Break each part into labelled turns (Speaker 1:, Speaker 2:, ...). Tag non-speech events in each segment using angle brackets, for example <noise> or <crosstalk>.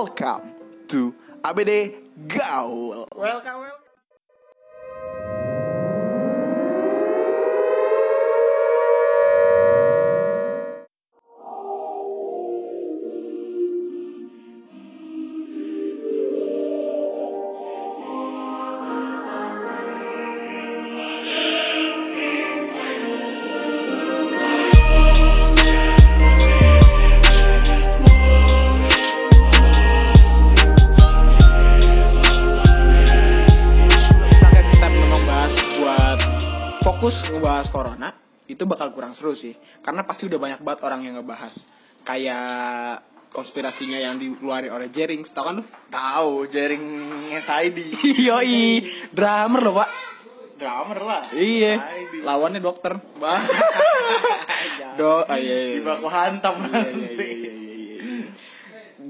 Speaker 1: Welcome to ABD Gaul.
Speaker 2: Welcome, welcome. Misalkan kita membahas buat fokus ngebahas corona, itu bakal kurang seru sih. Karena pasti udah banyak banget orang yang ngebahas. Kayak konspirasinya yang diluarin oleh Jering, tau kan lu?
Speaker 3: Tahu, jaring SID.
Speaker 2: <laughs> Yoi, drummer loh pak.
Speaker 3: Drummer lah.
Speaker 2: Iya,
Speaker 3: SID.
Speaker 2: lawannya dokter.
Speaker 3: <laughs> Bah.
Speaker 2: Do, ah, iya, iya.
Speaker 3: Di baku hantam
Speaker 2: Iya, iya, iya, iya, iya,
Speaker 3: <laughs>
Speaker 2: iya.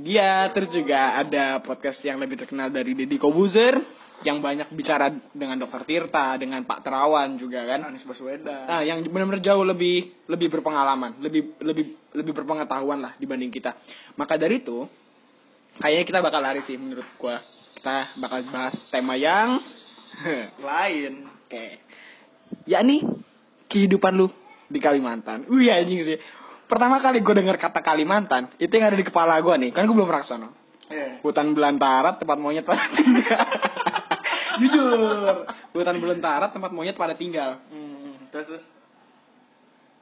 Speaker 2: Dia Iya, terus juga ada podcast yang lebih terkenal dari Deddy Kobuzer yang banyak bicara dengan Dokter Tirta, dengan Pak Terawan juga kan.
Speaker 3: Anies Baswedan.
Speaker 2: Nah, yang benar-benar jauh lebih lebih berpengalaman, lebih lebih lebih berpengetahuan lah dibanding kita. Maka dari itu, kayaknya kita bakal lari sih menurut gua. Kita bakal bahas tema yang <laughs>
Speaker 3: Lain.
Speaker 2: oke. Ya Yakni kehidupan lu di Kalimantan. Wih anjing sih. Pertama kali gue denger kata Kalimantan, itu yang ada di kepala gua nih. Kan gue belum pernah kesana.
Speaker 3: Iya.
Speaker 2: Hutan belantara, tempat monyet pada tinggal. <laughs> Jujur, hutan belantara, tempat monyet pada tinggal
Speaker 3: Hmm, terus terus.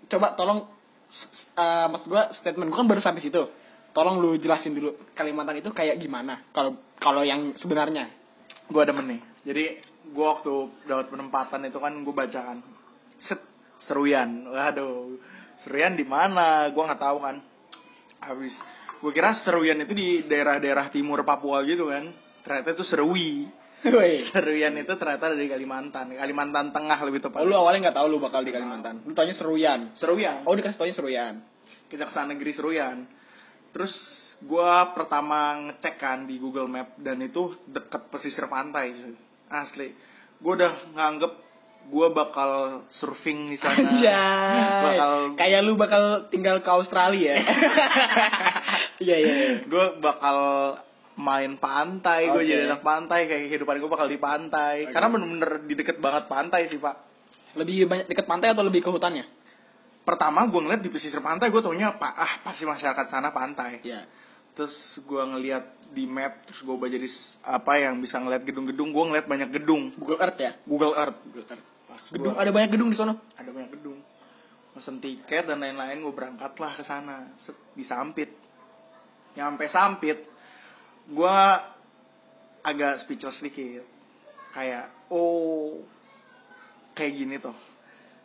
Speaker 2: coba tolong s- s- eh, maksud gue statement gue kan baru sampai situ tolong lu jelasin dulu Kalimantan itu kayak gimana kalau kalau yang sebenarnya
Speaker 3: Gua demen nih. Jadi gua waktu dapat penempatan itu kan gua bacakan. Set seruyan. Waduh. Seruyan di mana? Gua nggak tahu kan. Habis gua kira seruyan itu di daerah-daerah timur Papua gitu kan. Ternyata itu serui. <laughs>
Speaker 2: Woi,
Speaker 3: Seruyan itu ternyata dari Kalimantan. Kalimantan Tengah lebih
Speaker 2: oh, lu
Speaker 3: tepatnya.
Speaker 2: awalnya nggak tahu lu bakal di Kalimantan lu taunya Seruyan
Speaker 3: Seruyan.
Speaker 2: oh dikasih taunya Seruyan
Speaker 3: Kejaksaan Negeri Seruyan. Terus gua pertama ngecek kan di Google Map dan itu deket pesisir pantai cuy. Asli. Gua udah nganggep gua bakal surfing di sana. bakal
Speaker 2: kayak lu bakal tinggal ke Australia
Speaker 3: <laughs>
Speaker 2: iya iya iya.
Speaker 3: gua bakal main pantai, gue
Speaker 2: Oke.
Speaker 3: jadi anak pantai, kayak kehidupan gue bakal di pantai.
Speaker 2: Oke.
Speaker 3: Karena bener-bener di deket banget pantai sih, Pak.
Speaker 2: lebih banyak dekat pantai atau lebih ke hutannya
Speaker 3: Pertama gue ngeliat di pesisir pantai, gue taunya apa? Ah, pasti masyarakat sana pantai.
Speaker 2: iya
Speaker 3: terus gua ngeliat di map terus gue jadi s- apa yang bisa ngeliat gedung-gedung gua ngeliat banyak gedung
Speaker 2: Google Earth ya
Speaker 3: Google Earth Pas
Speaker 2: gedung
Speaker 3: gua-
Speaker 2: ada banyak gedung di sana
Speaker 3: ada banyak gedung pesen tiket dan lain-lain gue berangkat lah ke sana Set, di Sampit nyampe Sampit gua agak speechless dikit kayak oh kayak gini tuh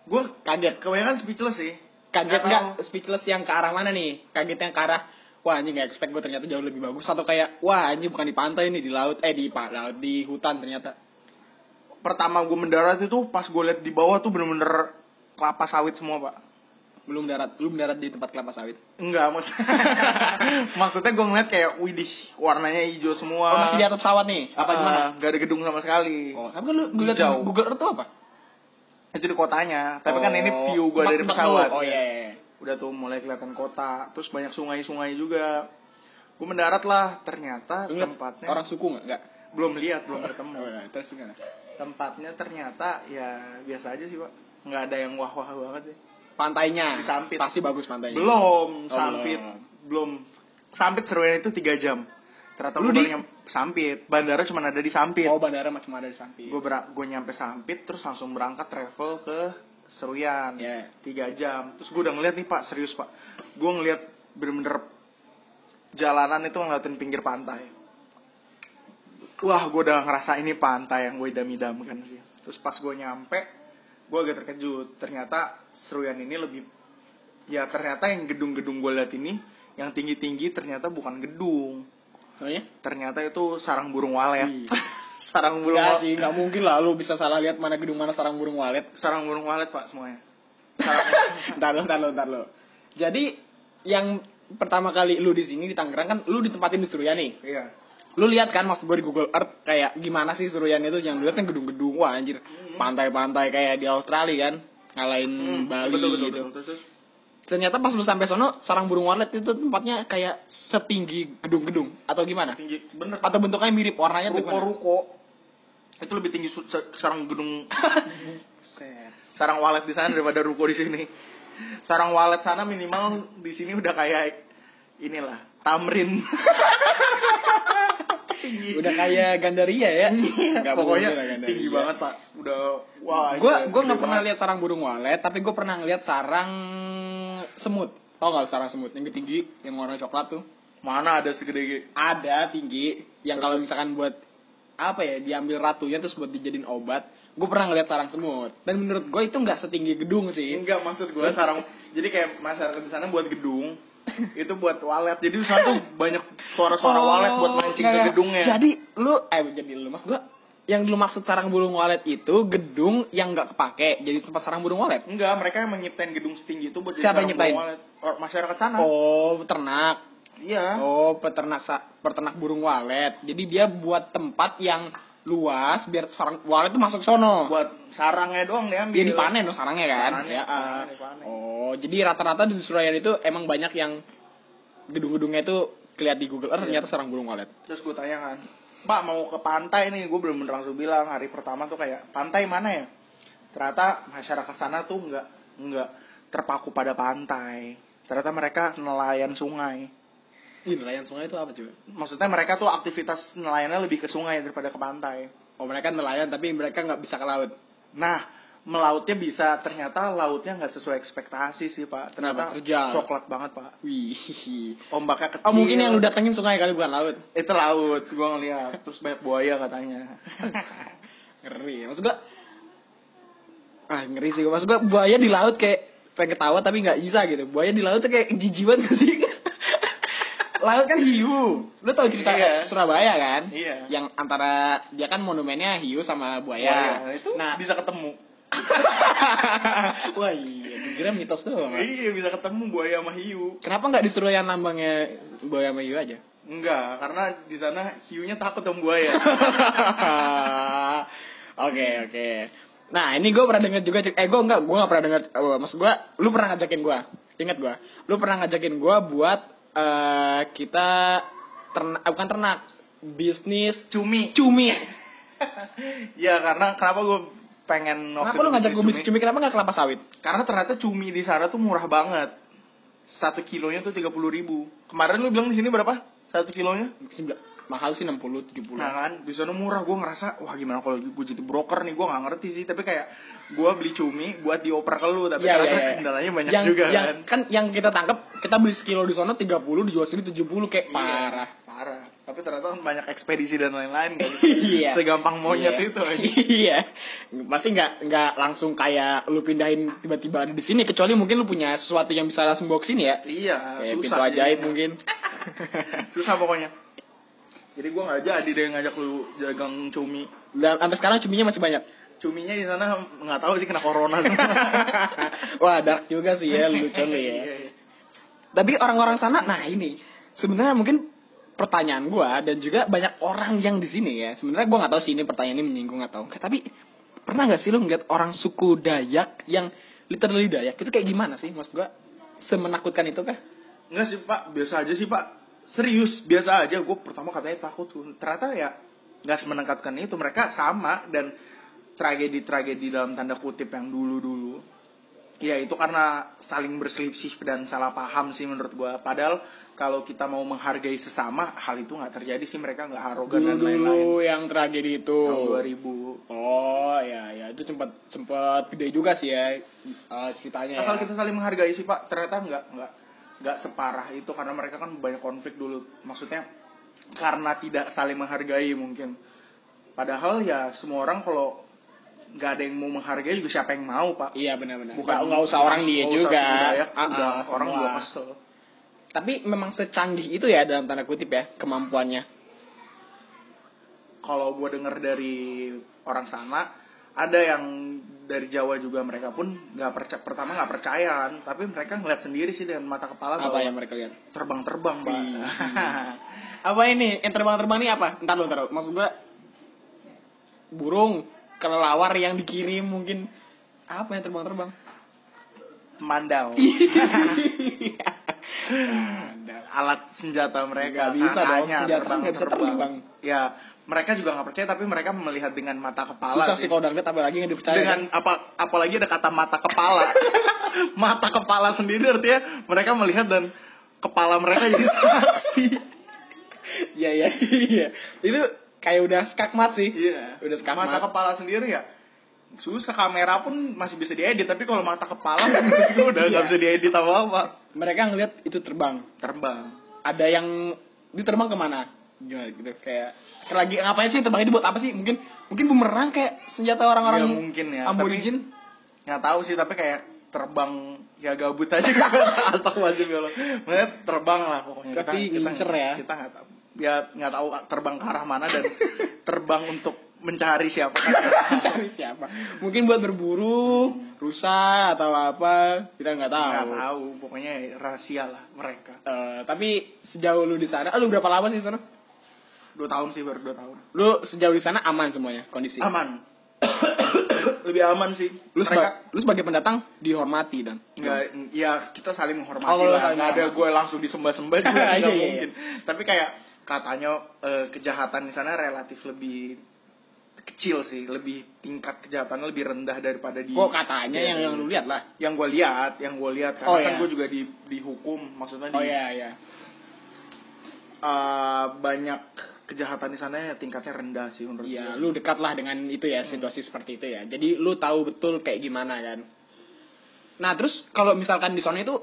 Speaker 3: gue
Speaker 2: kaget
Speaker 3: kebanyakan speechless sih
Speaker 2: kaget
Speaker 3: Nggak
Speaker 2: nggak
Speaker 3: tahu.
Speaker 2: speechless yang ke arah mana nih kaget yang ke arah wah anjing nggak expect gue ternyata jauh lebih bagus atau kayak wah anjing bukan di pantai ini di laut eh di pa- laut di hutan ternyata
Speaker 3: pertama gue mendarat itu pas gue liat di bawah tuh bener-bener kelapa sawit semua pak
Speaker 2: belum darat belum darat di tempat kelapa sawit
Speaker 3: Enggak, maksud... <laughs> maksudnya gue ngeliat kayak, widih, warnanya hijau semua.
Speaker 2: oh, masih di atas pesawat nih apa
Speaker 3: Ah,
Speaker 2: gimana
Speaker 3: Gak ada gedung sama sekali.
Speaker 2: oh tapi kan lu ngeliat
Speaker 3: Hijau.
Speaker 2: Google Earth tuh apa
Speaker 3: Itu di kotanya. Tapi kan ini
Speaker 2: Oh,
Speaker 3: view gue
Speaker 2: tempat-
Speaker 3: dari
Speaker 2: tempat
Speaker 3: pesawat.
Speaker 2: lu. oh iya, iya.
Speaker 3: Udah tuh mulai kelihatan kota. Terus banyak sungai-sungai juga. Gue mendarat lah. Ternyata
Speaker 2: Lu ngeliat
Speaker 3: tempatnya...
Speaker 2: orang suku nggak nggak
Speaker 3: Belum lihat, belum ketemu.
Speaker 2: Oh, iya. terus gimana
Speaker 3: Tempatnya ternyata ya biasa aja sih, Pak. Nggak ada yang wah-wah banget sih.
Speaker 2: pantainya
Speaker 3: Di Sampit.
Speaker 2: pasti bagus pantainya Oh,
Speaker 3: Belum, sampit.
Speaker 2: belum.
Speaker 3: Belum. Sampit seruannya itu 3 jam. Ternyata
Speaker 2: Lu
Speaker 3: gue
Speaker 2: di-
Speaker 3: baru nyam- sampit. Bandara cuma ada di sampit.
Speaker 2: oh bandara macam ada di sampit
Speaker 3: gue gue nyampe Sampit terus langsung berangkat travel ke Seruyan
Speaker 2: Iya.
Speaker 3: tiga jam terus gue udah ngeliat nih pak serius pak gue ngeliat bener-bener jalanan itu ngeliatin pinggir pantai wah gue udah ngerasa ini pantai yang gue idam-idamkan sih terus pas gue nyampe gue agak terkejut ternyata Seruyan ini lebih ya ternyata yang gedung-gedung gue liat ini yang tinggi-tinggi ternyata bukan gedung
Speaker 2: soalnya
Speaker 3: ternyata itu sarang burung walet
Speaker 2: Iya.
Speaker 3: <laughs> sarang burung
Speaker 2: Enggak
Speaker 3: walet
Speaker 2: sih, nggak mungkin lah lu bisa salah lihat mana gedung mana sarang burung walet.
Speaker 3: sarang burung walet pak semuanya sarang
Speaker 2: <laughs> ntar lo, ntar lo, ntar lo. Jadi yang pertama kali lu di sini di Tangerang kan lu ditempatin di Seruyan nih.
Speaker 3: iya
Speaker 2: Lu lihat kan maksud gue di Google Earth kayak gimana sih Seruyan itu yang dilihat kan gedung-gedung wah
Speaker 3: Hmm.
Speaker 2: anjir pantai-pantai kayak di Australia kan ngalahin Bali
Speaker 3: betul, betul,
Speaker 2: gitu.
Speaker 3: betul. Terus, terus.
Speaker 2: Ternyata pas lu sampai sono, sarang burung walet itu tempatnya kayak setinggi gedung-gedung atau gimana?
Speaker 3: tinggi bener
Speaker 2: Atau bentuknya mirip warnanya tuh
Speaker 3: ruko
Speaker 2: gimana?
Speaker 3: ruko itu lebih tinggi su- se- sarang
Speaker 2: <laughs>
Speaker 3: gedung sarang walet di sana daripada ruko di sini sarang walet sana minimal di sini udah kayak inilah
Speaker 2: <laughs>
Speaker 3: tamrin Tinggi.
Speaker 2: Udah kayak Gandaria ya. Nggak mungkin
Speaker 3: pokoknya
Speaker 2: lah Gandaria.
Speaker 3: tinggi banget pak udah wah
Speaker 2: Gue gue
Speaker 3: gila, gede
Speaker 2: nggak pernah
Speaker 3: banget.
Speaker 2: lihat sarang burung walet, tapi gue pernah ngeliat sarang semut. Tau gak sarang semut yang tinggi, yang warna coklat tuh?
Speaker 3: mana ada segede
Speaker 2: Ada tinggi, yang kalau misalkan buat apa ya diambil ratunya terus buat dijadiin obat. Gue pernah ngeliat sarang semut. Dan menurut gue itu nggak setinggi gedung sih.
Speaker 3: enggak maksud gue sarang jadi kayak masyarakat di sana
Speaker 2: <laughs>
Speaker 3: buat gedung itu buat walet jadi di sana tuh banyak suara-suara walet buat
Speaker 2: Oh,
Speaker 3: mancing
Speaker 2: nggak,
Speaker 3: ke
Speaker 2: nggak.
Speaker 3: gedungnya
Speaker 2: Jadi lu, eh jadi lu mas gue yang lu maksud sarang burung walet itu gedung yang nggak kepake jadi tempat sarang burung walet.
Speaker 3: Enggak, mereka yang menyiptain gedung setinggi itu buat jadi
Speaker 2: Siapa yang
Speaker 3: sarang burung
Speaker 2: nyiptain?
Speaker 3: walet. Or- masyarakat sana.
Speaker 2: Oh, ternak.
Speaker 3: Iya.
Speaker 2: Oh, peternak sa- peternak burung walet. Jadi dia buat tempat yang luas biar sarang walet itu masuk sono.
Speaker 3: Buat sarangnya doang diambil.
Speaker 2: Dia Iya, dipanen loh sarangnya kan.
Speaker 3: Sarangnya,
Speaker 2: ya, ah.
Speaker 3: sarangnya dipanen.
Speaker 2: Oh, jadi rata-rata di Surabaya itu emang banyak yang gedung-gedungnya itu kelihatan di Google Earth
Speaker 3: Iya.
Speaker 2: ternyata sarang burung walet.
Speaker 3: Terus gue tanya kan, Pak mau ke pantai nih, gue belum bener langsung bilang hari pertama tuh kayak pantai mana ya? Ternyata masyarakat sana tuh nggak nggak terpaku pada pantai. Ternyata mereka nelayan sungai.
Speaker 2: Ih, nelayan sungai itu apa cuy?
Speaker 3: Maksudnya mereka tuh aktivitas nelayannya lebih ke sungai daripada ke pantai.
Speaker 2: Oh, mereka nelayan tapi mereka nggak bisa ke laut.
Speaker 3: Nah, melautnya bisa ternyata lautnya nggak sesuai ekspektasi sih pak.
Speaker 2: Kenapa?
Speaker 3: Ternyata
Speaker 2: Terjal.
Speaker 3: coklat banget pak.
Speaker 2: Wih.
Speaker 3: Ombaknya kecil.
Speaker 2: Oh, mungkin yang lu datengin sungai kali bukan laut.
Speaker 3: itu laut gua ngeliat terus banyak buaya
Speaker 2: <laughs>
Speaker 3: katanya
Speaker 2: ngeri maksud gua ah ngeri sih maksud gua buaya di laut kayak pengen ketawa tapi nggak bisa gitu buaya di laut tuh kayak jijik banget nggak sih <laughs> laut kan hiu lu tau cerita
Speaker 3: Iya.
Speaker 2: Surabaya kan
Speaker 3: Iya.
Speaker 2: yang antara dia kan monumennya hiu sama buaya,
Speaker 3: buaya itu
Speaker 2: nah
Speaker 3: bisa ketemu
Speaker 2: <laughs> wah iya dikira mitos doang kan?
Speaker 3: iya bisa ketemu buaya sama hiu
Speaker 2: kenapa nggak disuruh yang lambangnya buaya sama hiu aja
Speaker 3: enggak karena di sana hiunya takut sama buaya
Speaker 2: <laughs> Oke oke. Nah ini gue pernah denger juga cek- eh gue enggak gue nggak pernah denger eh, maksud gue lu pernah ngajakin gue ingat gue lu pernah ngajakin gue buat eh kita ternak eh, bukan ternak bisnis
Speaker 3: cumi
Speaker 2: cumi.
Speaker 3: ya karena kenapa gue pengen waktu
Speaker 2: Kenapa lu
Speaker 3: itu
Speaker 2: ngajak
Speaker 3: beli
Speaker 2: gue bisnis cumi kenapa nggak kelapa sawit?
Speaker 3: karena ternyata cumi di sana tuh murah banget satu kilonya tuh tiga puluh ribu kemarin lu bilang di sini berapa satu kilonya
Speaker 2: Sembilan- Mahal sih 60 70.
Speaker 3: Nah kan, di sana murah. Gue ngerasa, wah gimana kalau gue jadi broker nih? Gue nggak ngerti sih. Tapi kayak gue beli cumi buat dioper ke lu, tapi
Speaker 2: Iya,
Speaker 3: ternyata
Speaker 2: iya, iya.
Speaker 3: kendalanya banyak
Speaker 2: yang,
Speaker 3: juga
Speaker 2: yang,
Speaker 3: kan.
Speaker 2: kan. yang kita tangkap kita beli sekilo di sana 30 dijual sini 70 kayak
Speaker 3: Iya,
Speaker 2: parah.
Speaker 3: parah. Tapi ternyata kan banyak ekspedisi dan lain-lain. kan.
Speaker 2: <laughs> Iya.
Speaker 3: Segampang monyet
Speaker 2: Iya.
Speaker 3: itu. aja.
Speaker 2: Iya. Pasti nggak nggak langsung kayak lu pindahin tiba-tiba ada di sini kecuali mungkin lu punya sesuatu yang bisa langsung bawa ke sini ya.
Speaker 3: Iya,
Speaker 2: Kayak
Speaker 3: susah.
Speaker 2: pintu
Speaker 3: sih.
Speaker 2: ajaib mungkin.
Speaker 3: <laughs> Susah pokoknya. Jadi gue nggak jadi deh ngajak lu jagang cumi.
Speaker 2: Dan sampai sekarang cuminya masih
Speaker 3: <laughs>
Speaker 2: banyak.
Speaker 3: Cuminya di sana nggak tahu sih kena corona.
Speaker 2: <laughs> Wah, dark juga sih ya lucu lu ya.
Speaker 3: Iya, iya.
Speaker 2: Tapi orang-orang sana nah ini sebenarnya mungkin pertanyaan gua dan juga banyak orang yang di sini ya. Sebenarnya gua nggak tahu sih ini pertanyaan ini menyinggung atau enggak, tapi pernah nggak sih lu ngeliat orang suku Dayak yang literally Dayak itu kayak gimana sih maksud gua? Semenakutkan itu kah?
Speaker 3: Enggak sih pak, biasa aja sih pak Serius, biasa aja Gue pertama katanya takut Ternyata ya nggak semenekatkan itu Mereka sama dan tragedi-tragedi dalam tanda kutip yang dulu-dulu Ya itu karena saling berselisih dan salah paham sih menurut gue Padahal kalau kita mau menghargai sesama Hal itu nggak terjadi sih mereka nggak arogan dan lain-lain
Speaker 2: Dulu-dulu yang tragedi itu.
Speaker 3: Tahun 2000
Speaker 2: Oh ya ya itu sempat sempat gede juga sih ya eh, ceritanya.
Speaker 3: Asal
Speaker 2: ya.
Speaker 3: kita saling menghargai sih pak Ternyata nggak nggak nggak separah itu Karena mereka kan banyak konflik dulu Maksudnya karena tidak saling menghargai mungkin Padahal ya semua orang kalau nggak ada yang mau menghargai juga siapa yang mau pak
Speaker 2: Iya benar-benar.
Speaker 3: Bukan-
Speaker 2: Bukan nggak usah orang dia
Speaker 3: nggak usah
Speaker 2: juga.
Speaker 3: budaya,
Speaker 2: Ah,
Speaker 3: udah,
Speaker 2: ah,
Speaker 3: orang
Speaker 2: semua.
Speaker 3: juga kesel
Speaker 2: Tapi memang secanggih itu ya dalam tanda kutip ya kemampuannya.
Speaker 3: Kalau gue denger dari orang sana Ada yang dari Jawa juga mereka pun nggak percaya pertama nggak percayaan tapi mereka ngeliat sendiri sih dengan mata kepala
Speaker 2: Apa
Speaker 3: bahwa
Speaker 2: yang Iya. mereka lihat?
Speaker 3: terbang-terbang pak
Speaker 2: <laughs>
Speaker 3: <laughs>
Speaker 2: apa ini yang terbang-terbang ini apa? Ntar lu taruh. Maksud gua burung kelelawar yang dikirim mungkin apa yang terbang-terbang? <laughs>
Speaker 3: mandau
Speaker 2: Iya.
Speaker 3: alat senjata mereka
Speaker 2: Nggak bisa dong,
Speaker 3: sananya,
Speaker 2: senjata nggak bisa terbang.
Speaker 3: ya mereka juga nggak percaya tapi mereka melihat dengan mata kepala
Speaker 2: Susah
Speaker 3: sih
Speaker 2: sih kalau kan? udah ngeliat apalagi nggak dipercaya.
Speaker 3: dengan apa apalagi ada kata mata kepala mata kepala sendiri artinya mereka melihat dan kepala mereka
Speaker 2: <laughs>
Speaker 3: jadi saksi
Speaker 2: <laughs> Iya iya iya. Itu kayak udah skakmat sih.
Speaker 3: Iya.
Speaker 2: Udah skakmat.
Speaker 3: Mata kepala sendiri ya susah kamera pun masih bisa diedit tapi kalau mata kepala <laughs> menurut gua udah nggak
Speaker 2: Iya.
Speaker 3: bisa diedit apa apa
Speaker 2: Mereka ngeliat itu terbang.
Speaker 3: terbang
Speaker 2: Ada yang dia terbang kemana? Gimana gitu kayak kayak lagi ngapain sih terbang itu buat apa sih? Mungkin mungkin bumerang kayak senjata orang-orang
Speaker 3: Ya, mungkin ya,
Speaker 2: Aborigin. <laughs>
Speaker 3: nggak tahu sih tapi kayak terbang ya gabut aja
Speaker 2: <laughs>
Speaker 3: atau wajib kalau Maksudnya terbang lah pokoknya
Speaker 2: ya Tapi ngincer ya.
Speaker 3: kita nggak tahu ya nggak tahu terbang ke arah
Speaker 2: <laughs>
Speaker 3: mana dan terbang untuk mencari siapa kan.
Speaker 2: Cari siapa? Mungkin buat berburu, rusa atau apa? Kita nggak
Speaker 3: nggak
Speaker 2: tahu.
Speaker 3: tahu pokoknya rahasia lah mereka
Speaker 2: Eh, tapi sejauh lu di sana, ah, lu berapa lama sih di sana?
Speaker 3: dua tahun sih baru dua tahun
Speaker 2: Lu sejauh di sana aman semuanya kondisi.
Speaker 3: aman <coughs> lebih aman sih
Speaker 2: Lu, seba-
Speaker 3: mereka
Speaker 2: lu sebagai pendatang dihormati dan
Speaker 3: nggak ya kita saling menghormati
Speaker 2: Oh, lu
Speaker 3: lah
Speaker 2: saling
Speaker 3: nggak ada
Speaker 2: menghormati.
Speaker 3: gue langsung disembah-sembah
Speaker 2: <laughs>
Speaker 3: juga
Speaker 2: Iya,
Speaker 3: nggak
Speaker 2: iya.
Speaker 3: mungkin tapi kayak katanya eh, kejahatan di sana relatif lebih kecil sih lebih tingkat kejahatan lebih rendah daripada di
Speaker 2: Kok katanya
Speaker 3: Iya,
Speaker 2: yang yang lu lihat lah.
Speaker 3: yang gue lihat yang gue lihat karena
Speaker 2: Oh,
Speaker 3: kan
Speaker 2: iya.
Speaker 3: gue juga di dihukum maksudnya di,
Speaker 2: Oh iya iya.
Speaker 3: eh, banyak kejahatan di sana ya tingkatnya rendah sih menurut
Speaker 2: Iya,
Speaker 3: gue.
Speaker 2: lu dekat lah dengan itu ya situasi seperti itu ya. Jadi lu tahu betul kayak gimana kan. Nah terus kalau misalkan di sana itu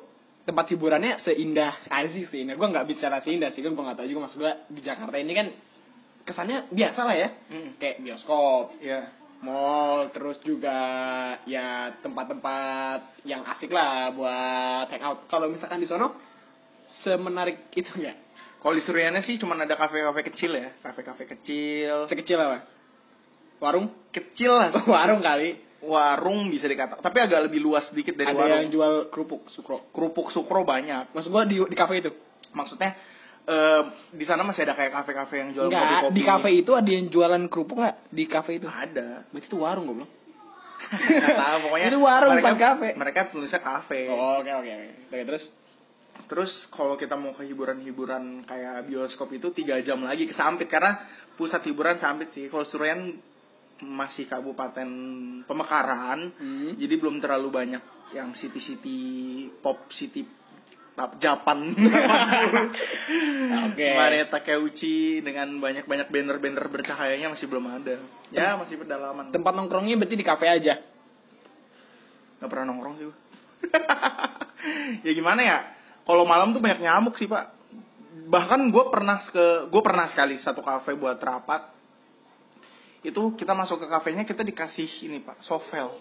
Speaker 2: tempat hiburannya seindah Aziz sih. Nah gue nggak bicara seindah sih, gue nggak tahu juga maksud gue di Jakarta ini kan kesannya biasa lah ya.
Speaker 3: Mm.
Speaker 2: Kayak bioskop,
Speaker 3: Iya.
Speaker 2: mall, terus juga ya tempat-tempat yang asik lah buat hangout. Kalau misalkan di sono semenarik itu enggak?
Speaker 3: Kalau di Suriana sih cuma ada kafe-kafe kecil ya, kafe-kafe kecil,
Speaker 2: Sekecil apa? Warung? <laughs>
Speaker 3: kecil lah.
Speaker 2: warung kali.
Speaker 3: Warung bisa dikata, tapi agak lebih luas sedikit dari
Speaker 2: Ada
Speaker 3: warung.
Speaker 2: yang jual kerupuk sukro.
Speaker 3: Kerupuk sukro banyak.
Speaker 2: Maksud gua di di kafe itu.
Speaker 3: Maksudnya eh, di sana masih ada kayak kafe-kafe yang jual
Speaker 2: Enggak,
Speaker 3: kopi-kopi.
Speaker 2: di kafe itu ada yang jualan kerupuk enggak? Di kafe itu.
Speaker 3: ada.
Speaker 2: Berarti itu warung goblok.
Speaker 3: <laughs> Nggak tahu pokoknya.
Speaker 2: Itu warung,
Speaker 3: mereka,
Speaker 2: bukan kafe.
Speaker 3: Mereka tulisnya kafe.
Speaker 2: Oh, oke oke oke. Oke, terus
Speaker 3: Terus kalau kita mau ke hiburan-hiburan kayak bioskop itu tiga jam lagi ke Sampit karena pusat hiburan Sampit sih. Kalau Surian masih kabupaten pemekaran,
Speaker 2: Hmm.
Speaker 3: jadi belum terlalu banyak yang city-city pop city tap-
Speaker 2: <laughs>
Speaker 3: Japan.
Speaker 2: Oke.
Speaker 3: Mare Takeuchi dengan banyak-banyak banner-banner bercahayanya masih belum ada. Ya masih pedalaman.
Speaker 2: tempat nongkrongnya berarti di kafe aja.
Speaker 3: Gak pernah nongkrong sih gua. <laughs> ya gimana ya? Kalau malam tuh banyak nyamuk sih pak. Bahkan gue pernah ke gue pernah sekali satu kafe buat rapat. Itu kita masuk ke kafenya kita dikasih ini pak sovel.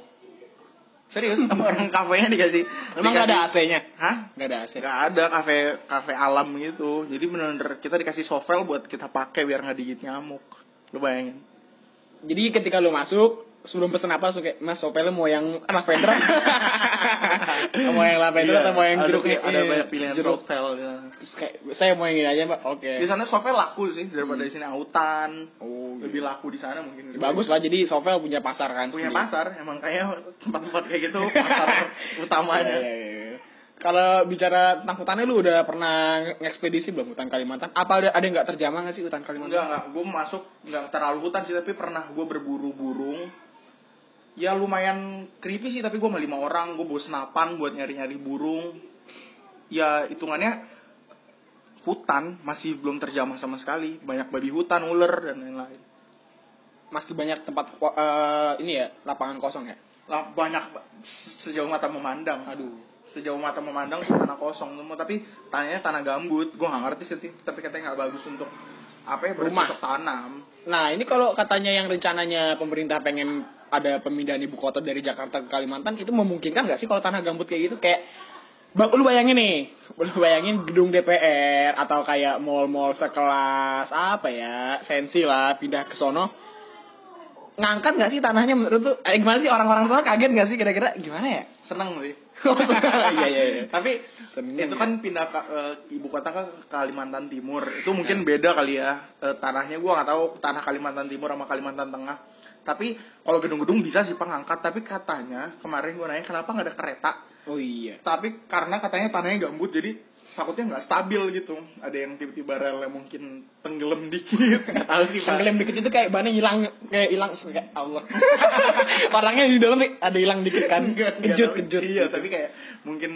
Speaker 2: <laughs>
Speaker 3: Serius sama orang kafenya dikasih.
Speaker 2: Emang nggak ada
Speaker 3: dikasih-
Speaker 2: AC-nya?
Speaker 3: Hah?
Speaker 2: Enggak ada AC.
Speaker 3: Gak ada kafe kafe alam gitu. Jadi bener-bener kita dikasih sovel buat kita pakai biar nggak digigit nyamuk. Lu bayangin.
Speaker 2: Jadi ketika lu masuk, sebelum pesen apa langsung kayak, Mas, sopelnya mau yang
Speaker 3: <laughs>
Speaker 2: lavender? mau yang lavender
Speaker 3: Iya,
Speaker 2: atau mau yang
Speaker 3: ada-
Speaker 2: jeruk?
Speaker 3: Ada,
Speaker 2: Iya,
Speaker 3: banyak pilihan
Speaker 2: jeruk.
Speaker 3: sovel. ya.
Speaker 2: Terus kayak, saya mau yang ini aja, Pak. Oke.
Speaker 3: Di sana sovel laku sih daripada di sini autan.
Speaker 2: Hmm. Oh, gitu.
Speaker 3: Lebih laku di sana mungkin.
Speaker 2: Bagus lah, jadi Sovel punya pasar kan.
Speaker 3: Punya
Speaker 2: sendiri.
Speaker 3: pasar, emang kayak tempat-tempat kayak gitu
Speaker 2: <laughs>
Speaker 3: pasar
Speaker 2: Iya,
Speaker 3: utamanya.
Speaker 2: iya, iya. Kalau bicara tentang hutannya, lu udah pernah ngekspedisi belum hutan Kalimantan? Apa ada ada yang nggak terjamah nggak sih hutan
Speaker 3: Enggak,
Speaker 2: Kalimantan?
Speaker 3: enggak. Gue masuk enggak terlalu hutan sih, tapi pernah gue berburu burung. Ya lumayan creepy sih, tapi gue sama lima orang, gue bawa senapan buat nyari-nyari burung. Ya hitungannya hutan masih belum terjamah sama sekali. Banyak babi hutan, ular dan lain-lain.
Speaker 2: Masih banyak tempat eh, ini ya lapangan kosong ya.
Speaker 3: lah banyak sejauh mata memandang
Speaker 2: Aduh.
Speaker 3: sejauh mata memandang tuh tanah kosong semua tapi tanahnya tanah gambut gue nggak ngerti sih Ti. tapi katanya nggak bagus untuk apa ya
Speaker 2: Rumah.
Speaker 3: bercocok tanam
Speaker 2: Nah ini kalau katanya yang rencananya pemerintah pengen ada pemindahan ibu kota dari Jakarta ke Kalimantan itu memungkinkan nggak sih kalau tanah gambut kayak gitu kayak Bang, lu bayangin nih, <laughs> lu bayangin gedung DPR atau kayak mall-mall sekelas apa ya, sensi lah pindah ke sono. Ngangkat nggak sih tanahnya menurut lu? Eh, gimana sih orang-orang tua kaget nggak sih kira-kira gimana ya? <laughs>
Speaker 3: seneng sih <laughs>
Speaker 2: Iya iya iya.
Speaker 3: tapi
Speaker 2: Seneng
Speaker 3: itu
Speaker 2: ya.
Speaker 3: kan pindah ke eh, ibu kota ke Kalimantan Timur itu mungkin beda kali ya Eh, tanahnya gue nggak tahu tanah Kalimantan Timur sama Kalimantan Tengah tapi kalau gedung-gedung bisa sih pengangkat tapi katanya kemarin gue nanya kenapa nggak ada kereta
Speaker 2: Oh iya.
Speaker 3: tapi karena katanya tanahnya gambut jadi takutnya nggak stabil gitu ada yang tiba-tiba relnya mungkin tenggelam dikit nggak tahu sih Pak.
Speaker 2: Tenggelam dikit itu kayak bannya hilang kayak hilang kayak Allah. <laughs> Orangnya di dalam nih, ada hilang dikit kan.
Speaker 3: Nggak, nggak
Speaker 2: Kejut
Speaker 3: tahu.
Speaker 2: kejut.
Speaker 3: iya
Speaker 2: gitu.
Speaker 3: tapi kayak mungkin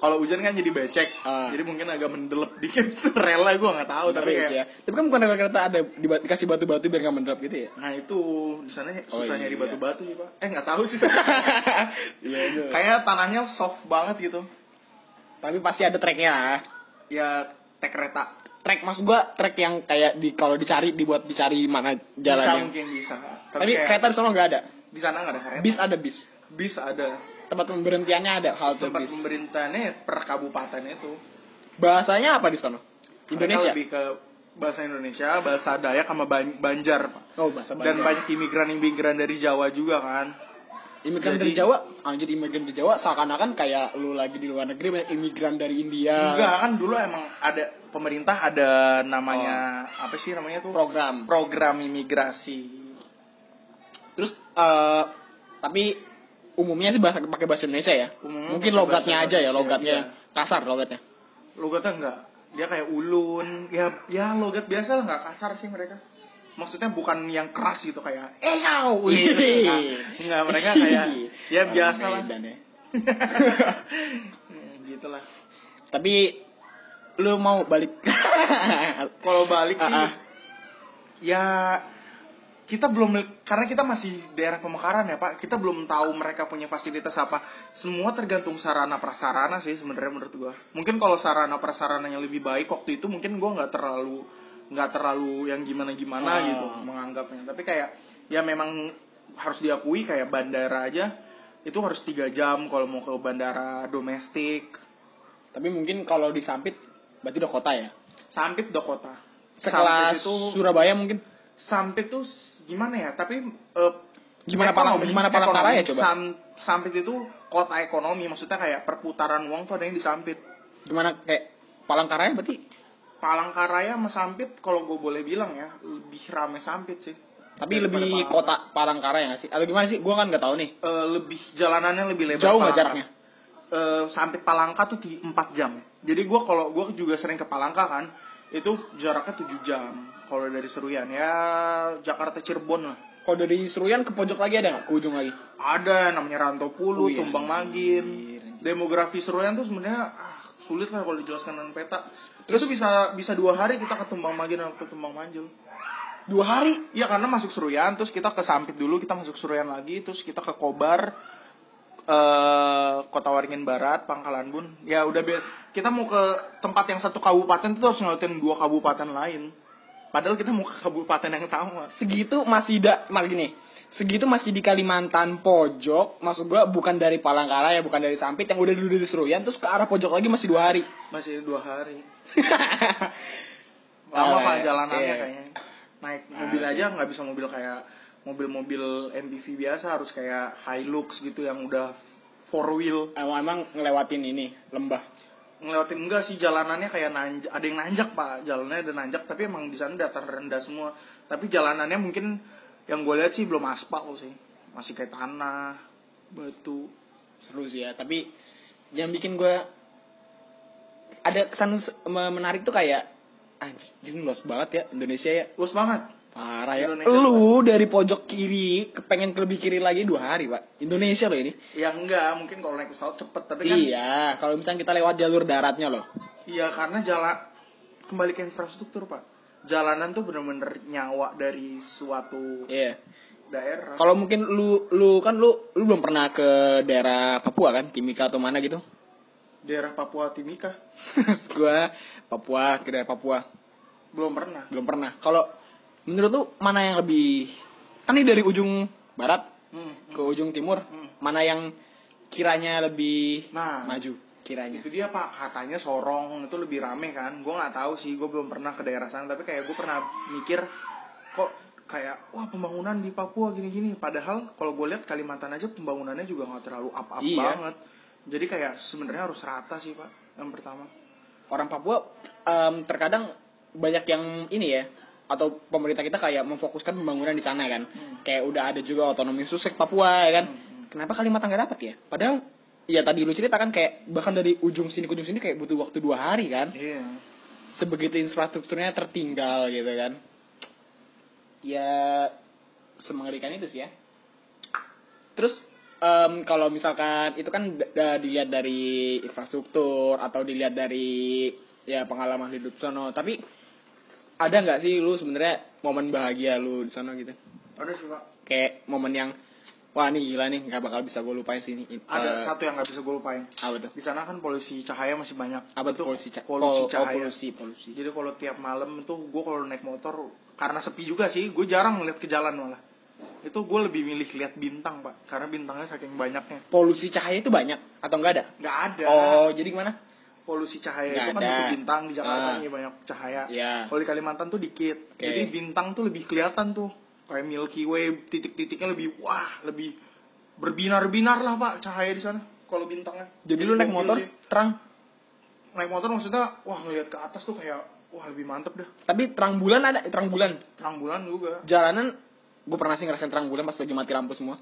Speaker 3: kalau hujan kan jadi becek
Speaker 2: Ah.
Speaker 3: jadi mungkin agak mendelep dikit <laughs> rela gue nggak tahu tapi
Speaker 2: Ngeri
Speaker 3: kayak
Speaker 2: sih ya. Tapi kan bukan ada kereta ada diba- dikasih batu-batu biar nggak mendrop
Speaker 3: <laughs>
Speaker 2: gitu ya.
Speaker 3: nah itu di sana
Speaker 2: Oh,
Speaker 3: susah nyari
Speaker 2: iya.
Speaker 3: batu-batu sih pak eh nggak tahu sih
Speaker 2: <laughs> Iya. itu.
Speaker 3: kayak tanahnya soft banget gitu
Speaker 2: Tapi pasti ada treknya lah.
Speaker 3: ya tek kereta
Speaker 2: Trek maksud gua trek yang kayak di kalau dicari dibuat dicari mana
Speaker 3: bisa
Speaker 2: jalannya.
Speaker 3: mungkin bisa tapi,
Speaker 2: ya? Tapi
Speaker 3: kayak
Speaker 2: kereta di sana nggak ada.
Speaker 3: di sana nggak ada kereta
Speaker 2: Bis ada bis.
Speaker 3: bis ada
Speaker 2: Tempat pemberhentiannya ada halte
Speaker 3: tempat
Speaker 2: bis.
Speaker 3: pemerintahnya per kabupaten itu
Speaker 2: Bahasanya apa di sana?
Speaker 3: Mereka
Speaker 2: Indonesia.
Speaker 3: lebih ke bahasa Indonesia bahasa Dayak sama Ban- Banjar Pak.
Speaker 2: Oh, bahasa
Speaker 3: dan banyak imigran-imigran dari Jawa juga kan
Speaker 2: Imigran
Speaker 3: Jadi-
Speaker 2: dari Jawa, anjir imigran dari Jawa seakan-akan kayak lu lagi di luar negeri banyak imigran dari India.
Speaker 3: enggak kan dulu emang ada pemerintah ada namanya
Speaker 2: Oh.
Speaker 3: apa sih namanya tuh
Speaker 2: Program.
Speaker 3: program imigrasi
Speaker 2: Terus eh tapi umumnya sih bahasa pakai bahasa Indonesia ya.
Speaker 3: Umumnya
Speaker 2: Mungkin
Speaker 3: pakai
Speaker 2: logatnya
Speaker 3: bahasa
Speaker 2: aja ya,
Speaker 3: Indonesia,
Speaker 2: logatnya
Speaker 3: iya.
Speaker 2: kasar logatnya.
Speaker 3: logatnya enggak dia kayak ulun ya ya logat biasa lah nggak kasar sih mereka maksudnya bukan yang keras gitu kayak
Speaker 2: Eh, kau.
Speaker 3: Iya,
Speaker 2: <laughs>
Speaker 3: enggak. <laughs> Enggak, mereka kayak, ya,
Speaker 2: Orang
Speaker 3: biasa lah.
Speaker 2: Medan ya.
Speaker 3: Ya, gitulah
Speaker 2: Tapi lu mau balik. <laughs>
Speaker 3: kalau balik sih
Speaker 2: Ah, ah.
Speaker 3: ya kita belum karena kita masih daerah pemekaran ya pak kita belum tahu mereka punya fasilitas apa semua tergantung sarana prasarana sih sebenarnya menurut gua mungkin kalau sarana prasarananya lebih baik waktu itu mungkin gua nggak terlalu nggak terlalu yang gimana gimana
Speaker 2: Ah.
Speaker 3: gitu menganggapnya tapi kayak ya memang harus diakui kayak bandara aja itu harus tiga jam kalau mau ke bandara domestik
Speaker 2: tapi mungkin kalau di Sampit berarti udah kota ya.
Speaker 3: sampit do kota
Speaker 2: Sekelas
Speaker 3: Sampit itu-
Speaker 2: Surabaya mungkin
Speaker 3: sampit tuh s- gimana ya tapi eh,
Speaker 2: Gimana pala- gimana pala
Speaker 3: ekonomi.
Speaker 2: taranya coba?
Speaker 3: Sam- sampit itu kota ekonomi maksudnya kayak perputaran uang tuh ada yang di sampit
Speaker 2: gimana kayak Palangkaraya berarti
Speaker 3: Palangkaraya sama Sampit kalau gue boleh bilang ya lebih rame Sampit sih
Speaker 2: tapi
Speaker 3: Daripada
Speaker 2: lebih
Speaker 3: Palangkaraya.
Speaker 2: kota Palangkaraya nggak sih atau gimana sih gua kan nggak tahu nih
Speaker 3: Eh, lebih jalanannya lebih lebar
Speaker 2: jauh nggak
Speaker 3: Palangka.
Speaker 2: jaraknya
Speaker 3: Eh, Sampit Palangka tuh di 4 jam jadi gue kalau gue juga sering ke Palangka kan itu jaraknya 7 jam kalau dari Seruyan ya Jakarta Cirebon lah
Speaker 2: kalau dari Seruyan ke pojok lagi ada nggak ke ujung lagi
Speaker 3: ada yang namanya Rantau
Speaker 2: Oh
Speaker 3: Pulu,
Speaker 2: iya,
Speaker 3: Tumbang Magin. Demografi Seruyan tuh sebenarnya ah, sulit lah kalau dijelaskan dengan peta. Terus tuh bisa bisa dua hari kita ke Tumbang Magin atau ke Tumbang Manjul.
Speaker 2: dua hari
Speaker 3: Iya karena masuk Seruyan, terus kita ke Sampit dulu, kita masuk Seruyan lagi, terus kita ke Kobar, eh Kota Waringin Barat, Pangkalan Bun. Ya udah be- kita mau ke tempat yang satu kabupaten tuh harus ngeliatin dua kabupaten lain. Padahal kita mau ke kabupaten yang sama.
Speaker 2: segitu masih da mal gini segitu masih di Kalimantan pojok maksud gua bukan dari Palangkaraya bukan dari Sampit yang udah dulu dari Seruyan terus ke arah pojok lagi masih <laughs> dua hari
Speaker 3: Masih dua hari. lama
Speaker 2: Oh,
Speaker 3: pak
Speaker 2: iya.
Speaker 3: jalanannya
Speaker 2: Iya. Ah.
Speaker 3: kayaknya naik mobil aja nggak bisa mobil kayak mobil-mobil MPV biasa harus kayak Hilux gitu yang udah four wheel
Speaker 2: emang, emang ngelewatin ini lembah
Speaker 3: ngelewatin enggak sih jalanannya kayak nanjak ada yang nanjak pak jalannya ada nanjak tapi emang di sana datar rendah semua tapi jalanannya mungkin yang gue lihat sih belum aspal sih masih kayak tanah batu
Speaker 2: seru sih ya tapi yang bikin gua ada kesan se- me- menarik tuh kayak anjing luas banget ya Indonesia ya
Speaker 3: luas banget
Speaker 2: Parah ya.
Speaker 3: Indonesia
Speaker 2: lu dari pojok kiri ke pengen ke lebih kiri lagi dua hari, Pak. Indonesia loh ini.
Speaker 3: ya enggak mungkin kalau naik pesawat cepet tapi kan
Speaker 2: Iya, kalau misalnya kita lewat jalur daratnya loh.
Speaker 3: Iya karena jalan kembali ke infrastruktur pak. Jalanan tuh bener-bener nyawa dari suatu
Speaker 2: Iya.
Speaker 3: daerah.
Speaker 2: Kalau mungkin lu lu kan lu lu belum pernah ke daerah Papua kan, Timika atau mana gitu. <laughs>
Speaker 3: Daerah Papua Timika
Speaker 2: Gua Papua ke daerah Papua
Speaker 3: belum pernah.
Speaker 2: belum pernah. Kalau menurut lu mana yang lebih kan ini dari ujung barat
Speaker 3: Hmm.
Speaker 2: ke ujung timur,
Speaker 3: Hmm.
Speaker 2: mana yang kiranya lebih
Speaker 3: Nah.
Speaker 2: maju kiranya?
Speaker 3: Itu dia pak katanya Sorong itu lebih rame kan. Gue nggak tahu sih. Gue belum pernah ke daerah sana. Tapi kayak gue pernah mikir kok kayak wah pembangunan di Papua gini-gini. Padahal kalau gue lihat Kalimantan aja pembangunannya juga nggak terlalu up-up
Speaker 2: Iya.
Speaker 3: banget. Jadi kayak sebenarnya harus rata sih pak. Yang pertama.
Speaker 2: orang Papua em, terkadang banyak yang ini ya atau pemerintah kita kayak memfokuskan pembangunan di sana kan kayak udah ada juga otonomi khusus Papua ya kan kenapa Kalimantan nggak dapat ya padahal ya tadi lu cerita kan kayak bahkan dari ujung sini ke ujung sini kayak butuh waktu dua hari kan
Speaker 3: Iya.
Speaker 2: sebegitu infrastrukturnya tertinggal gitu kan ya semengerikan itu sih ya terus em, kalau misalkan itu kan da- da- dilihat dari infrastruktur atau dilihat dari ya pengalaman hidup sono tapi ada nggak sih lu sebenarnya momen bahagia lu di sono gitu
Speaker 3: Ada sih, Pak.
Speaker 2: kayak momen yang wah ini gila nih nggak bakal bisa gue lupain sini ini eh,
Speaker 3: Ada satu yang nggak bisa gue lupain.
Speaker 2: apa tuh
Speaker 3: Di sana kan polusi cahaya masih banyak.
Speaker 2: apa tuh
Speaker 3: Itu
Speaker 2: polusi ca-
Speaker 3: polusi
Speaker 2: pol- oh,
Speaker 3: cahaya.
Speaker 2: polusi polusi
Speaker 3: Jadi kalau tiap malam tuh gue kalau naik motor karena sepi juga sih, gue jarang ngeliat ke jalan malah. Itu gue lebih milih lihat bintang, Pak. Karena bintangnya saking banyaknya.
Speaker 2: polusi cahaya itu banyak atau nggak ada
Speaker 3: Nggak ada.
Speaker 2: oh jadi gimana
Speaker 3: Polusi cahaya
Speaker 2: Nggak
Speaker 3: itu kan
Speaker 2: ada.
Speaker 3: itu bintang di Jakarta
Speaker 2: Ah.
Speaker 3: nih banyak cahaya.
Speaker 2: Iya.
Speaker 3: Kalau di Kalimantan tuh dikit.
Speaker 2: Oke.
Speaker 3: Jadi bintang tuh lebih kelihatan tuh. Kayak Milky Way titik-titiknya lebih wah, lebih berbinar-binar lah, Pak, cahaya di sana. Kalau bintangnya.
Speaker 2: jadi lu naik
Speaker 3: Gokil
Speaker 2: motor
Speaker 3: sih.
Speaker 2: terang
Speaker 3: naik motor maksudnya wah ngelihat ke atas tuh kayak wah lebih mantep dah
Speaker 2: tapi terang bulan ada eh, terang bulan
Speaker 3: terang bulan juga
Speaker 2: jalanan gue pernah sih ngerasain terang bulan pas lagi mati lampu
Speaker 3: <laughs>
Speaker 2: semua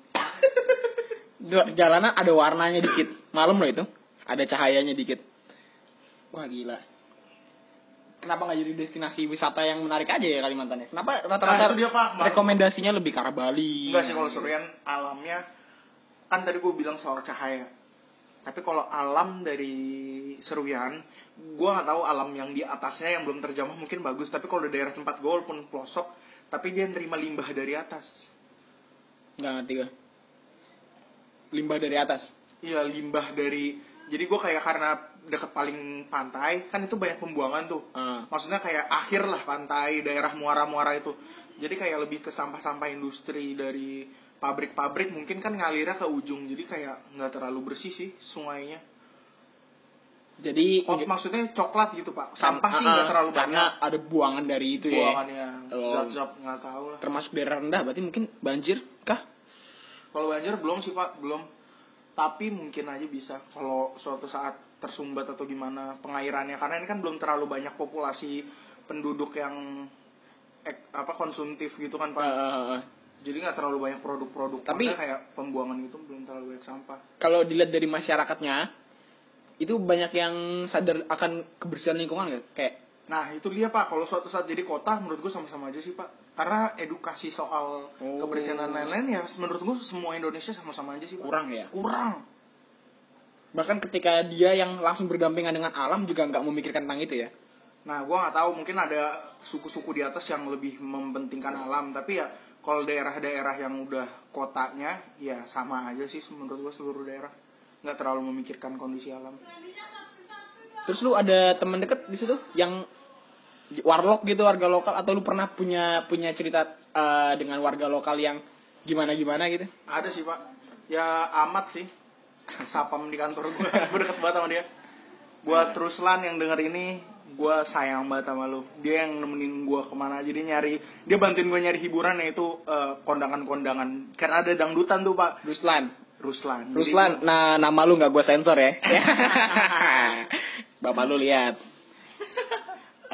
Speaker 2: Dua- jalanan ada warnanya dikit malam loh itu ada cahayanya dikit wah gila kenapa nggak jadi destinasi wisata yang menarik aja ya Kalimantan ya kenapa
Speaker 3: Nah,
Speaker 2: rata-rata
Speaker 3: itu dia, Pak. Malam.
Speaker 2: rekomendasinya lebih ke arah Bali
Speaker 3: enggak sih kalau Surian alamnya kan tadi gue bilang soal cahaya tapi kalau alam dari Seruyan gue nggak tahu alam yang di atasnya yang belum terjamah mungkin bagus tapi kalau di daerah tempat gue walaupun pelosok tapi dia nerima limbah dari atas
Speaker 2: nggak ngerti gue limbah dari atas
Speaker 3: iya limbah dari jadi gue kayak karena deket paling pantai kan itu banyak pembuangan tuh
Speaker 2: Ah.
Speaker 3: maksudnya kayak akhir lah pantai daerah muara-muara itu jadi kayak lebih ke sampah-sampah industri dari pabrik-pabrik mungkin kan ngalirnya ke ujung jadi kayak nggak terlalu bersih sih sungainya
Speaker 2: jadi
Speaker 3: oh, maksudnya coklat gitu pak
Speaker 2: Karena-
Speaker 3: sampah sih nggak
Speaker 2: Iya. ah,
Speaker 3: terlalu
Speaker 2: karena
Speaker 3: banyak
Speaker 2: ada buangan dari itu
Speaker 3: buangan
Speaker 2: ya
Speaker 3: yang
Speaker 2: Oh.
Speaker 3: zat-zat nggak tahu lah
Speaker 2: termasuk daerah rendah berarti mungkin banjir kah
Speaker 3: kalau banjir belum sih pak belum tapi mungkin aja bisa kalau suatu saat tersumbat atau gimana pengairannya karena ini kan belum terlalu banyak populasi penduduk yang ek- apa konsumtif gitu kan pak
Speaker 2: Eh,
Speaker 3: jadi nggak terlalu banyak produk-produk
Speaker 2: Tapi-
Speaker 3: Makanya kayak pembuangan itu belum terlalu banyak sampah
Speaker 2: kalau dilihat dari masyarakatnya itu banyak yang sadar akan kebersihan lingkungan nggak? kayak
Speaker 3: nah itu dia pak kalau suatu saat jadi kota menurut gue sama-sama aja sih pak karena edukasi soal
Speaker 2: Oh.
Speaker 3: kebersihan dan lain-lain ya menurut gue semua Indonesia sama-sama aja sih pak
Speaker 2: kurang ya
Speaker 3: kurang
Speaker 2: bahkan ketika dia yang langsung berdampingan dengan alam juga nggak memikirkan tentang itu ya
Speaker 3: nah gue nggak tahu mungkin ada suku-suku di atas yang lebih mempentingkan alam tapi ya kalau daerah-daerah yang udah kotanya ya sama aja sih menurut gue seluruh daerah nggak terlalu memikirkan kondisi alam
Speaker 2: terus lu ada teman deket di situ yang warlock gitu warga lokal atau lu pernah punya punya cerita eh, dengan warga lokal yang gimana gimana gitu
Speaker 3: Ada sih pak. Ya amat sih. <laughs> Sapam di kantor <laughs> gue. gue deket banget sama dia.
Speaker 2: Iya.
Speaker 3: Buat Ruslan yang denger ini, gue sayang banget sama lu. Dia yang nemenin gue kemana aja. Dia nyari, dia bantuin gue nyari hiburan yaitu eh, kondangan-kondangan. Karena ada dangdutan tuh pak.
Speaker 2: Ruslan
Speaker 3: Ruslan. Jadi
Speaker 2: Ruslan,
Speaker 3: gua-
Speaker 2: nah nama lu nggak gue sensor
Speaker 3: <laughs>
Speaker 2: ya. Bapak lu lihat.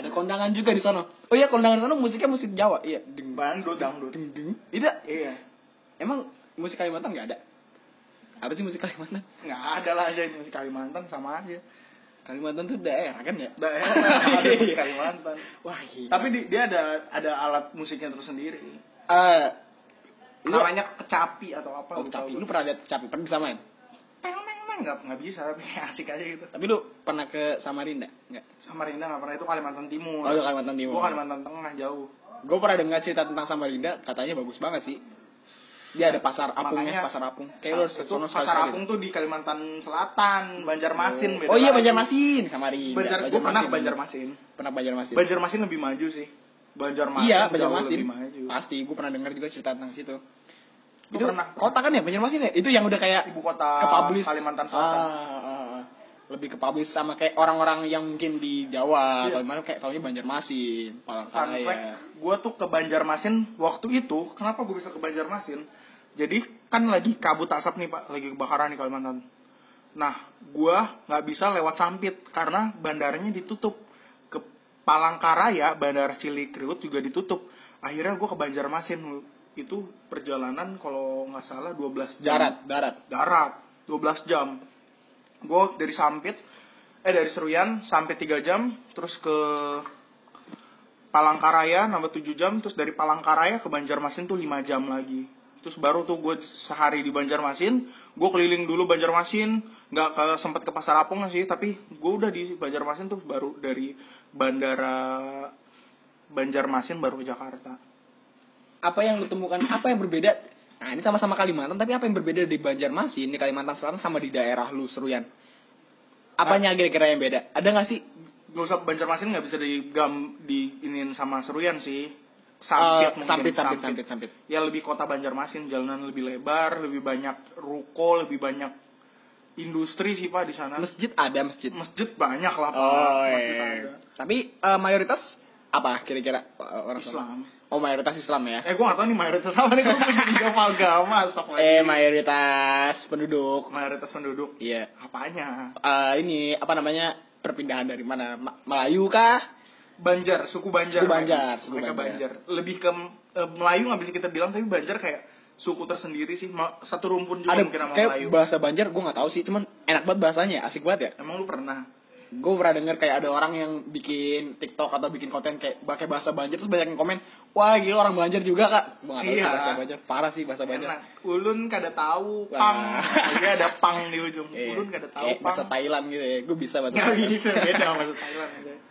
Speaker 2: Ada kondangan juga di sana. Oh iya kondangan sana musiknya musik Jawa. Iya. Deng
Speaker 3: Bandung dangdut.
Speaker 2: deng deng. Tidak.
Speaker 3: Iya.
Speaker 2: Emang musik Kalimantan nggak ada? Apa sih musik Kalimantan?
Speaker 3: Nggak ada lah aja musik Kalimantan sama aja.
Speaker 2: Kalimantan tuh daerah kan ya? <laughs>
Speaker 3: Daerah ada
Speaker 2: Iya.
Speaker 3: musik Kalimantan.
Speaker 2: Wah. iya. Gila.
Speaker 3: Tapi di- dia ada ada alat musiknya tersendiri.
Speaker 2: Eh, Lu-
Speaker 3: Namanya kecapi atau apa?
Speaker 2: oh,
Speaker 3: gua
Speaker 2: kecapi.
Speaker 3: tahu.
Speaker 2: Lu pernah lihat kecapi? Pernah disamain?
Speaker 3: Peng peng peng nggak nggak bisa <laughs> tapi asik aja gitu.
Speaker 2: Tapi lu pernah ke Samarinda? Nggak.
Speaker 3: Samarinda nggak pernah itu Kalimantan Timur.
Speaker 2: Oh, lu Kalimantan Timur.
Speaker 3: Gua Kalimantan Tengah jauh.
Speaker 2: Gue pernah dengar cerita tentang Samarinda, katanya bagus banget sih. Dia ada pasar apungnya,
Speaker 3: Makanya-
Speaker 2: pasar apung. Kayak lu harus
Speaker 3: itu
Speaker 2: ke sono
Speaker 3: pasar
Speaker 2: sekali-sekali.
Speaker 3: Apung tuh di Kalimantan Selatan, Banjarmasin. beda
Speaker 2: Oh iya
Speaker 3: lagi.
Speaker 2: Banjarmasin Samarinda.
Speaker 3: Banjar, gua pernah ke Banjarmasin.
Speaker 2: Pernah ke Banjarmasin.
Speaker 3: Banjarmasin lebih maju sih. Banjarmasin
Speaker 2: iya
Speaker 3: jauh
Speaker 2: Banjarmasin.
Speaker 3: lebih maju.
Speaker 2: Pasti gue pernah dengar juga cerita tentang situ.
Speaker 3: Gua
Speaker 2: itu
Speaker 3: pernah.
Speaker 2: kota kan ya Banjarmasin ya? Itu yang udah kayak
Speaker 3: Ibu kota
Speaker 2: ke publish
Speaker 3: Kalimantan Selatan.
Speaker 2: Ah, ah, ah. lebih ke publish sama kayak orang-orang yang mungkin di Jawa atau
Speaker 3: Iya.
Speaker 2: gimana kayak tahunya Banjarmasin,
Speaker 3: Fun fact,
Speaker 2: Palangkaraya.
Speaker 3: gue tuh ke Banjarmasin waktu itu. Kenapa gue bisa ke Banjarmasin? Jadi kan lagi kabut asap nih pak, lagi kebakaran di Kalimantan. Nah, gue nggak bisa lewat Sampit karena bandarnya ditutup. Ke Palangkaraya, bandar Cilikriwut juga ditutup. Akhirnya gue ke Banjarmasin. Itu perjalanan kalau nggak salah 12 jam.
Speaker 2: Darat, darat.
Speaker 3: Darat, 12 jam. gue dari Sampit eh dari Seruyan sampai 3 jam terus ke Palangkaraya nambah 7 jam terus dari Palangkaraya ke Banjarmasin tuh 5 jam lagi terus baru tuh gue sehari di Banjarmasin gue keliling dulu Banjarmasin nggak ke, sempat ke pasar Apung sih tapi gue udah di Banjarmasin tuh baru dari bandara Banjarmasin baru ke Jakarta
Speaker 2: apa yang ditemukan apa yang berbeda nah ini sama-sama Kalimantan tapi apa yang berbeda di Banjarmasin di Kalimantan Selatan sama di daerah lu Seruyan apanya
Speaker 3: Nah.
Speaker 2: kira-kira yang beda ada nggak sih
Speaker 3: gak usah Banjarmasin nggak bisa digam di inin sama Seruyan sih
Speaker 2: Eh,
Speaker 3: Sampit mungkin,
Speaker 2: sampit sampit sampit sampit
Speaker 3: ya lebih kota Banjarmasin jalanan lebih lebar lebih banyak ruko lebih banyak industri sih pak di sana
Speaker 2: masjid ada masjid
Speaker 3: masjid banyak lah pak
Speaker 2: oh
Speaker 3: masjid ada
Speaker 2: iya. tapi eh, mayoritas apa kira-kira eh, orang Islam
Speaker 3: Islam
Speaker 2: oh mayoritas Islam ya
Speaker 3: eh gue gak tau nih mayoritas apa nih gue
Speaker 2: <laughs>
Speaker 3: agama agama
Speaker 2: eh
Speaker 3: astagfirullahaladzim.
Speaker 2: mayoritas penduduk
Speaker 3: mayoritas penduduk
Speaker 2: iya
Speaker 3: apanya
Speaker 2: Eh, ini apa namanya perpindahan dari mana Ma- Melayu kah
Speaker 3: Banjar suku Banjar
Speaker 2: Suku Banjar,
Speaker 3: mereka,
Speaker 2: suku
Speaker 3: Mereka
Speaker 2: Banjar.
Speaker 3: Banjar. lebih ke eh, Melayu nggak bisa kita bilang tapi Banjar kayak suku tersendiri sih Ma- satu rumpun juga
Speaker 2: ada
Speaker 3: Iya, mungkin sama
Speaker 2: kayak
Speaker 3: Melayu
Speaker 2: bahasa Banjar gue nggak tahu sih cuman enak banget bahasanya asik banget ya
Speaker 3: emang lu pernah
Speaker 2: gue pernah denger kayak ada orang yang bikin TikTok atau bikin konten kayak pakai bahasa Banjar terus banyak yang komen wah gila orang Banjar juga kak gue nggak tahu sih
Speaker 3: Iya.
Speaker 2: bahasa Banjar parah sih bahasa Banjar
Speaker 3: enak ulun kada tahu
Speaker 2: Wah.
Speaker 3: pang dia ada pang di ujung
Speaker 2: Eh,
Speaker 3: ulun kada tahu
Speaker 2: kayak bahasa
Speaker 3: pang
Speaker 2: Thailand gitu ya gue bisa bahasa
Speaker 3: nggak
Speaker 2: Thailand
Speaker 3: bisa beda sama bahasa Thailand aja.
Speaker 2: <laughs>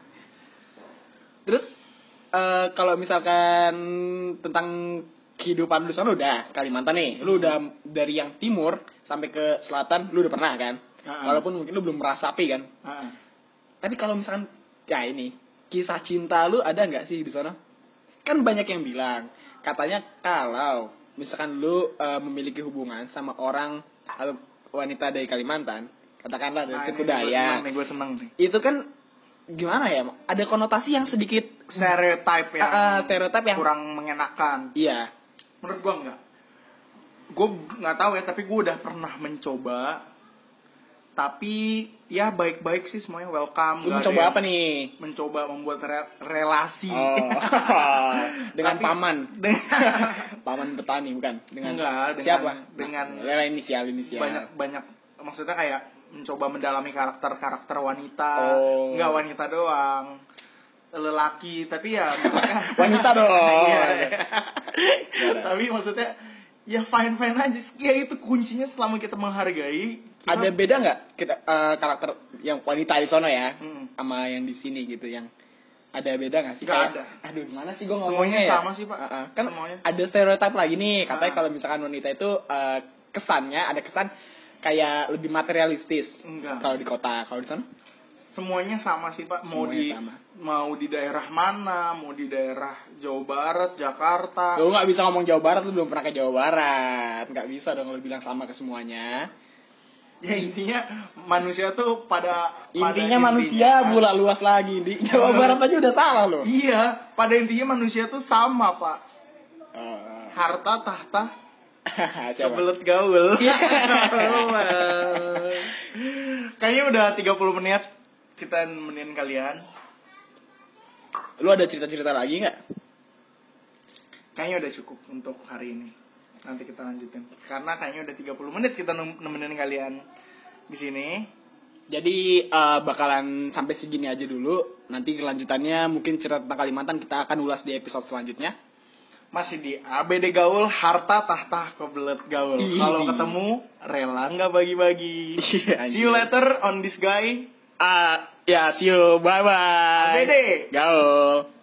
Speaker 2: terus eh, kalau misalkan tentang kehidupan lu sana udah Kalimantan nih lu udah dari yang timur sampai ke selatan lu udah pernah kan
Speaker 3: Ha-ha.
Speaker 2: walaupun mungkin lu belum merasapi kan
Speaker 3: Ah.
Speaker 2: Tapi kalau misalkan ya ini kisah cinta lu ada nggak sih di sana? Kan banyak yang bilang katanya kalau misalkan lu eh, memiliki hubungan sama orang atau wanita dari Kalimantan, katakanlah dari
Speaker 3: Nah,
Speaker 2: suku
Speaker 3: ini gua seneng
Speaker 2: Dayak,
Speaker 3: nih gue seneng nih
Speaker 2: itu kan gimana ya? Ada konotasi yang sedikit
Speaker 3: stereotype yang
Speaker 2: Ah, ah, stereotip yang-
Speaker 3: kurang mengenakan
Speaker 2: iya.
Speaker 3: menurut gue enggak gue nggak tahu ya tapi gue udah pernah mencoba tapi ya baik-baik sih semuanya welcome
Speaker 2: Lu
Speaker 3: Nggak ada
Speaker 2: mencoba
Speaker 3: yang
Speaker 2: apa nih?
Speaker 3: mencoba membuat re- relasi
Speaker 2: Oh, <laughs> dengan
Speaker 3: Tapi-
Speaker 2: paman.
Speaker 3: <laughs> dengan
Speaker 2: Paman petani bukan? Dengan
Speaker 3: Enggak, dengan-
Speaker 2: siapa?
Speaker 3: dengan-
Speaker 2: Nah, inisial inisial.
Speaker 3: banyak banyak maksudnya kayak mencoba mendalami karakter karakter wanita
Speaker 2: Oh.
Speaker 3: nggak wanita doang lelaki
Speaker 2: <laughs>
Speaker 3: tapi ya
Speaker 2: Wanita dong.
Speaker 3: <laughs> Iya. tapi maksudnya ya fine fine aja ya itu kuncinya selama kita menghargai kita-
Speaker 2: ada beda nggak kita eh, karakter yang wanita di sono ya
Speaker 3: Mm.
Speaker 2: sama yang di sini gitu yang ada beda nggak sih?
Speaker 3: Nggak
Speaker 2: Kayak-
Speaker 3: ada.
Speaker 2: Aduh gimana sih gue
Speaker 3: Semuanya
Speaker 2: ngomongnya ya?
Speaker 3: sama sih, Pak.
Speaker 2: Ah, ah. Kan
Speaker 3: Semuanya.
Speaker 2: ada stereotip lagi nih katanya
Speaker 3: Ah.
Speaker 2: kalau misalkan wanita itu eh, kesannya ada kesan kayak lebih materialistis
Speaker 3: enggak
Speaker 2: kalau di kota kalau di sana
Speaker 3: semuanya sama sih pak mau
Speaker 2: Semuanya
Speaker 3: di
Speaker 2: sama.
Speaker 3: mau di daerah mana mau di daerah Jawa Barat Jakarta
Speaker 2: lu nggak bisa ngomong Jawa Barat lu belum pernah ke Jawa Barat nggak bisa dong lu bilang sama ke semuanya
Speaker 3: ya intinya manusia tuh pada pada
Speaker 2: intinya manusia
Speaker 3: intinya- kan.
Speaker 2: bola luas lagi di Jawa Barat aja udah salah
Speaker 3: <laughs>
Speaker 2: Oh. loh
Speaker 3: Iya, pada intinya manusia tuh sama, Pak.
Speaker 2: Oh, oh.
Speaker 3: Harta, tahta,
Speaker 2: <laughs> Siapa?
Speaker 3: kebelet gaul.
Speaker 2: Iya.
Speaker 3: <laughs> Kayaknya udah 30 menit kita nemenin kalian.
Speaker 2: Lu ada cerita-cerita lagi nggak?
Speaker 3: Kayaknya udah cukup untuk hari ini. Nanti kita lanjutin. Karena kayaknya udah 30 menit kita nem- nemenin kalian di sini.
Speaker 2: Jadi eh, bakalan sampai segini aja dulu. Nanti kelanjutannya mungkin cerita tentang Kalimantan kita akan ulas di episode selanjutnya.
Speaker 3: Masih di ABD Gaul, harta tahta kebelet gaul.
Speaker 2: Ih.
Speaker 3: Kalau ketemu, rela nggak bagi-bagi.
Speaker 2: Iya,
Speaker 3: See
Speaker 2: anjir.
Speaker 3: you later on this guy.
Speaker 2: Eh, Ah, ya, see you. Bye bye.
Speaker 3: ABD.
Speaker 2: Gaul.